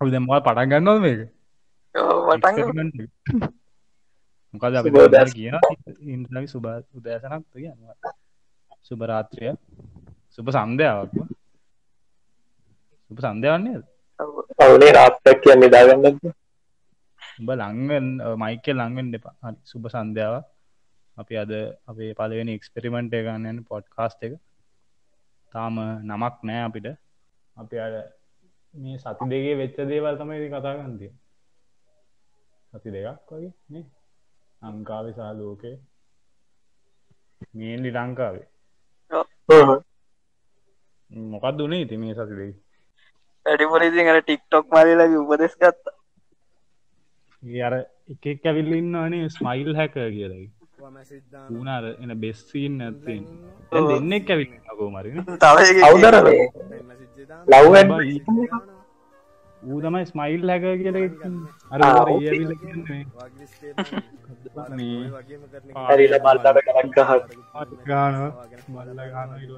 අපි දැම්වා පටන් ගන්නවද මේක වටග මොකද අපි සුබ දවල් උදෑසන. කියන ඉන්දවි සුබ උදෑසනක් කියනවා සුබ රාත්‍රිය සුබ සන්ධයාවක් සුබ සන්ධයවන්නේ අවුනේ රාත්තක් කිය නිදාගන්න උඹ ලංවෙන් මයිකෙ ලංවෙන් දෙපා හරි සුබ සන්ධාව අපි අද අපේ පලවෙනි එක්ස්පෙරිමෙන්ට් ගන්නන පොඩ්කාස්ට එක තාම නමක් නෑ අපිට අපි අර මේ සති දෙගේ වෙච්ච දේවල් තමයි ඉතින් කතා ගන්තිය සති දෙකක් වගේ නේ ලංකාව සහ ලෝකේ මේන්ලි ලංකාවේ මොකක් දුනේ ඉති මේ සති දෙක වැඩිපුරරිසි අර ටික්ටොක් මරලගේ උපදෙස් ගත්ත ඒ අර එකෙක් ඇවිල්ල ඉන්නවානේ ස්මයිල් හැක කියලයි ඌනාර එන බෙස්සීන් නැත්තෙන් ඔව්. දෙන්නෙක් ඇවිල්ලකෝ මරින තව අවුදර ලව් ඌ තමයි ස්මයිල් හැක කියල අර ආ, ඌ අර ඔව්. ඊ ඇවිල්ලා කියන්නේ මේ හරිල මල්තට කලක් ගහක් ගාන මල්ල ගාන පත්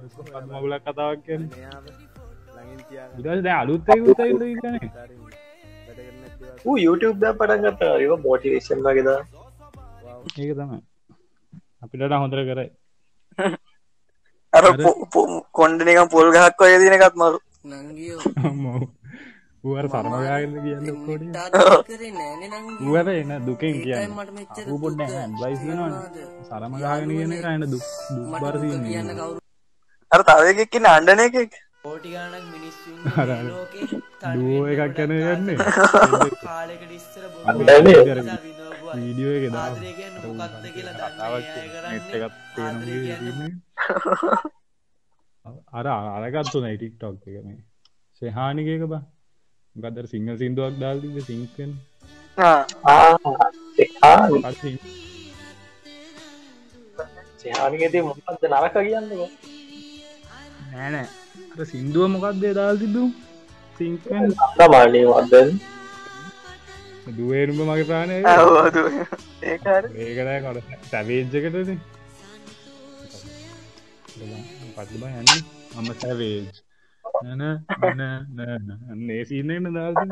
මගුලක් කතාවක් කියන්නේ ඉදස් දැ අලුත්තය උතයිල්ල කියන්නේ ඌ YouTube ද පටන් ගත්තා ඒව මෝටිවේෂන් වගේද ඒක තමයි අපිට හොඳර කරයි අර පො- පො- කොණ්ඩනක පොල් ගහක් ඔය දිනකත් මරු නංගියෝ අම්මෝ. ඌ අර සරමගාගන්න කියන්න කොට තාත් කරේ නෑනේ නංගියෝ ඌඇ එන දුකෙන් කියන්න ඒකයි මට මෙච්චර පොඩ්ඩ දුක බයිසිනන තියෙනවද? සරමගාගෙන කියන එක අයන දුක් මට බර දුක කියන්න කවුරු අර තවයකෙක්කින්න අන්ඩන එකෙක් කෝටි ගානක් මිනිස්සු අර අර. ඉන්න ලෝකේ තනි දුවෝ එකක් වෙන්න යන ගොඩක් යන්නේ. කාලෙකට- කාලෙකට ඉස්සර බොහොම නිසා විඳවපු අය. වීඩියෝ එක දා- ආදරය කියන්නේ මොකක්ද කියලා දන්නේ කතාවක් නෑ අය නෙට් එකත් කරන්නේ. පේන ආදරේ වගේ කියන්නේ තියෙන්නේ. අර අරගත්තු නයි ටික්ටොක් එක මේ සෙහානිකක බා ගදර සිංහල් සිින්දුවක් දාල්දික සිංකෙන් පසින් සයානිකති මොකක්ද නරක කියන්නේ නෑනෑ අර සින්දුව මොකක්දේ දාල්සිදු සිංකෙන් සමානය වදන් දුවේරුම මගේ ප්‍රාණය ඒකාර ඒකරෑ කොට සැවේජ්ජකටද පටබ යන්න අම සැවේජ් නන නන ඒ සිීන්නන්න දාල්සිද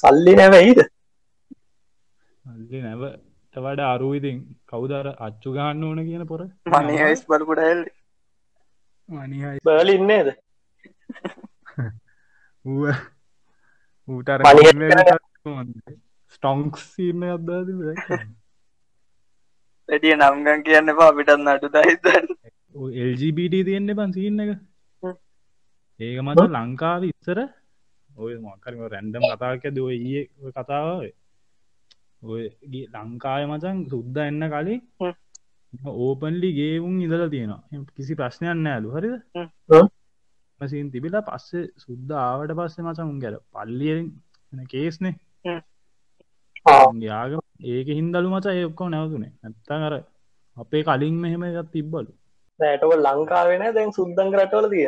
සල්ලි නැවයිද අල්ලි නැව තවට අරුවිතින් කවුදර අච්චු ගන්න ඕන කියන පොර මනස් බලපුටල් මනිහයි බලින්නේද ඌට මනිහයි ස්ටොංක්ස් සිීන්න අද්දාද වැඩිය නම්ගන් කියන්න පා පිටන්න අඩු දයිතන්න එල්ජබට තියෙන්න්න පන් සින්න එක හ්ම්. ඒක මත ලංකාව ඉස්සර ඔය මොකරම රැන්ඩම් කතාකද ඔය ඒ කතාව ඔය ගේ ලංකාය මචන් සුද්ද එන්න කලින් හ්ම්. ඕපන්ලි ගේවුන් ඉදල තියෙනවා එම් කිසි ප්‍රශ්නයන්න ඇලු හරිද හ්ම්. ඔව්. මසින් තිබිලා පස්සේ සුද්ද ආවට පස්සේ මචන් උන් ගැර පල්ලියෙන් එන කේස්නේ හ්ම්. ආ. යාග ඒක හින්දලු මචා ඒ ඔක්කෝ නැවතුනේ නැත්තං අර අපේ කලින් මෙහෙම එකත් තිබ්බලු නෑටව ලංකාවෙන දැන් සුද්දන් කරටවල තිය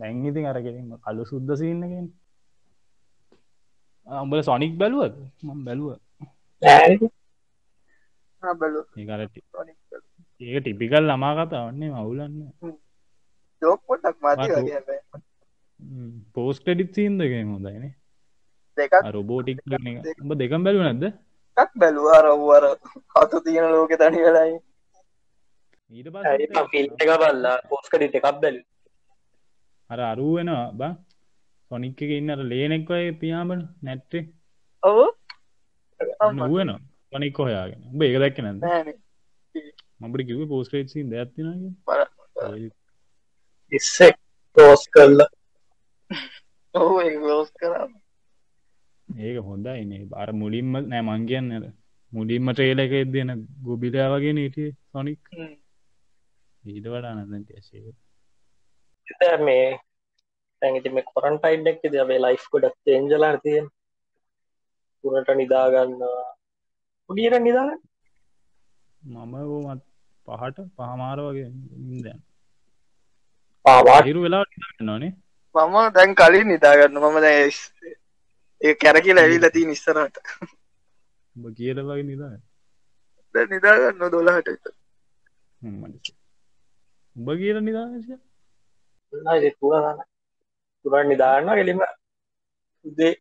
දැංගිති අරගෙනීම කලු සුද්ද සින්නකින් අම්බල සොනික් බැලුවත් මම බැලුව බලු ඒකරට ඒක ටිපිකල් ළමා කතා වන්නේ මවුලන්න ජෝක්කොටක් මති මතු. වගේ පෝස් ටඩිත් සින්දක හොදයින දෙකක් රොබෝටික් ඔබ දෙකම් බැලු නැද බැලුවා රව්වර කතු තියෙන ලෝක තනි වෙලයි ඊට පිල්ටක බල්ලා පෝස්කඩි එකක් බැලි අර අරුවෙනවා බ සොනික් එක ඉන්නට ලේනෙක්වයි පියාමට නැට්ටේ ඔව නුවන පනික් හොයාගෙන උඹ ඒක දැක්ක නැද මට කිව පෝස්ටේට් සින් බර- දැත්තිනගේ ඉස්සෙක් පෝස් කරල ඔව ලෝස් කරා ඒක හොඳයි නේ බර මුලින්ම නෑ මං කියන්න අර මුලින්ම ට්‍රේල එක දෙන ගොබිලයා වගේ නටිය සොනික් හ්ම්. ඊට වඩා නදට ඇසේ මේ තැඟති මේ කොරන්ටයින්ඩක් ද මේ ලයිස් කොඩක් චේන්ජලා තියෙන් පුරට නිදාගන්න පුඩියට නිදාගන්න මම බෝමත් පහට පහමාර වගේ ඉදන් පාවා හිරු වෙලා නනේ මම දැන් කලින් නිතාගන්න මම දැ ඒ කැරකි ලැවිල්ලති නිස්සරට ඔබ කියල වගේ නිදා දැ නිදාගන්න දොලාහට උඹ කියල නිදාශ පුරගන්න පුරන් නිදාන්න කෙලිම දේ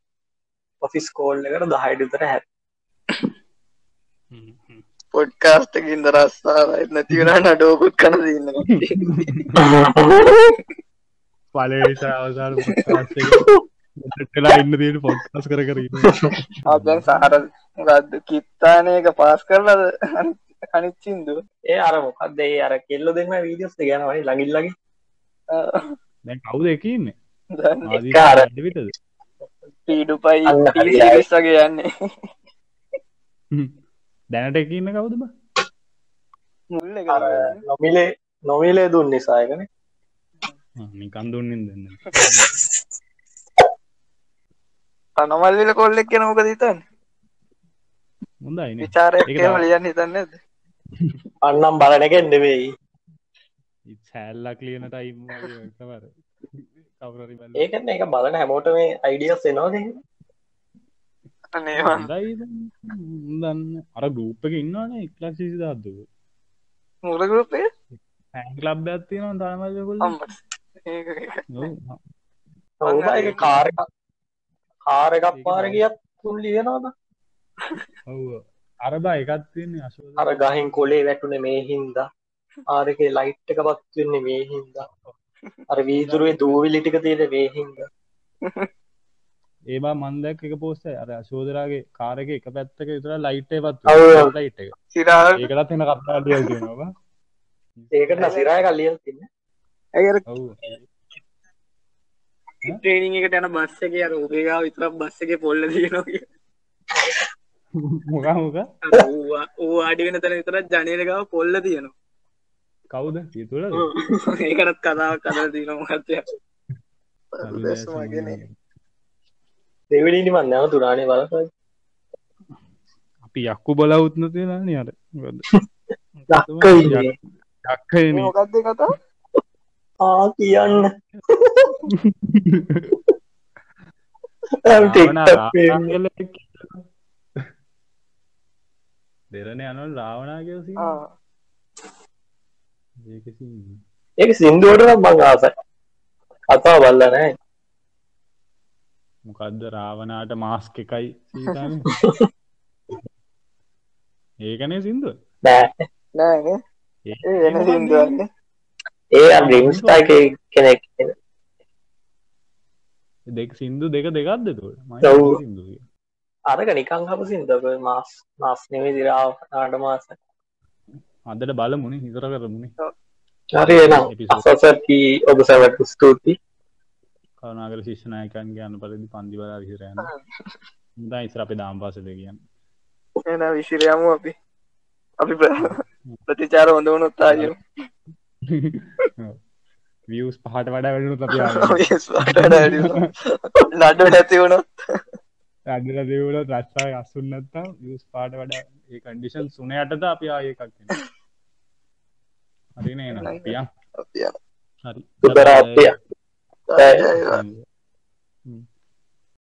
ඔෆිස් කෝල් එකට දහයට විතර හැ පොඩ්කාස්ටකින් දරස්සාර නැතිවරන්න අඩෝකුත් කන දන්න පලේස අවසාලා ඉන්න දීට පොට්ස් කර කර අපන් සහර ගද්ද කිත්තානයක පාස් කරලද අනිච්චින්දු ඒ අර මොකක්දේ අර කෙල්ල දෙන්න වීඩියස් ගැනවයි ලඟිල්ලගේ දැන් කවුද එකන්නේ කාර. විතද පීඩු පයි අන්න හරි. ටීවිස්වගේ යන්නේ දැනට එකන්න කවුදම මුල්ල අර නොමිලේ නොමිලේ දුන්න නිසායකන නිකන් දුන්නින් දෙන්න තනමල්ල කොල්ලෙක් කියෙන මොක හිතන් හොඳයින ඒක විචාරයම තමයි. ලියන්න හිතන්න ඇද අන්නම් බලනකෙන් නෙවෙයි සැල්ලක් ලියන ටයිම් කවර කවරරි බල ඒකන එක බලන හැමෝට මේ අයිඩියස් එනවාගේ නේවා හොඳයි ඉතින්. දන්න අර ගූප්පක ඉන්නවාන එක්ලක් සිසි දත්තුක මුලගරුපේ පැන් ලබ් ඇත්තින තාමල්කුල් අම්ම ඒ හවුනා එක කාර කාර එකක් පාර ගියත් තුන් ලියනවාද අරබා එකත්තින්නේ අශ අර ගහින් කොලේ වැටුනේ මේ හින්දා ආරකේ ලයිට් එක පත් වෙන්නේ මේ හින්දා අර වීදුරුවේ දූවිලි ටික තියෙන මේ හින්දා ඒවා මන්දැක් එක පෝස්ට අර අශෝදරගේ කාරක එක පැත්තක විතුර ලයිටේ පත් ඔව්. ලයිට් එක සිරාල් ඒකලත් එන කත්තාටිය දෙනවා ඒකට නසිරාය කල්ලියල් තින්න ඇර ඔව් ට්‍රේනිින් එකට යන බස්ස එක අර උබේගාව විතරක් බස්ස එක පොල්ල දීනගේ මොක මොක ඌ ආඩි වෙන තැන විතරත් ජනලකාව පොල්ල තියනවා කවුද යතුල ඒකටත් කතාවක් කර දීනවා මත්ය මගෙන දෙවිනිනි මන් නැව තුරානේ බලසයි අපි යක්කු බලවුත්න තියෙනන අර දක්කයිනේ. දක්කයිනේ. මොකක්ද කතා ආ කියන්න ලාවනා රාවණා කියලා දෙරණ යනු ලාවනාගසි ආ. ඒක සින්දුවට නම් මං ආසයි කතා බල්ල නෑ මොකක්ද රාවනාට මාස්ක එකයි සීතානේ. ඒකනේ සිින්දුව නෑ නෑනේ ඒ- ඒ වෙන සිින්දුවන්න ඒ අර රිම්ස්ටා එක කෙනෙක් එන. දෙක් සිින්දු දෙක දෙකක්ද තුට ඔව්. අරක නිකං හප සින්දක මාස් මාස් නෙවේ දිරාව නාට මාස අදට බල මුණේ හිතර කරමුණේ හරි එනම් Episode. අසසකි ඔබ සැවට ස්තුතියි කරුණාගර ශිෂ්ණයකන් ගන්න පලදි පන්දිවල විහිරයන්න දා ඉස්ර අපි දාම්පාස දෙ කියන්න එන විසිරයමු අපි අපි ප්‍ර- ප්‍රතිචාර හොඳ වනුත්තාය වියස් පහට වඩා වැඩනු අපි ලඩ නැති වුණොත් අදල දෙවල රස්සාය අසුන්නත්තා යස් පාට වඩා ඒ කන්ඩිෂන් සුන යටට අපි ආයකක් හරින එන පිය අපි යනවා. හරි සුබරාත්‍රියක්. ජය වේවා. හරි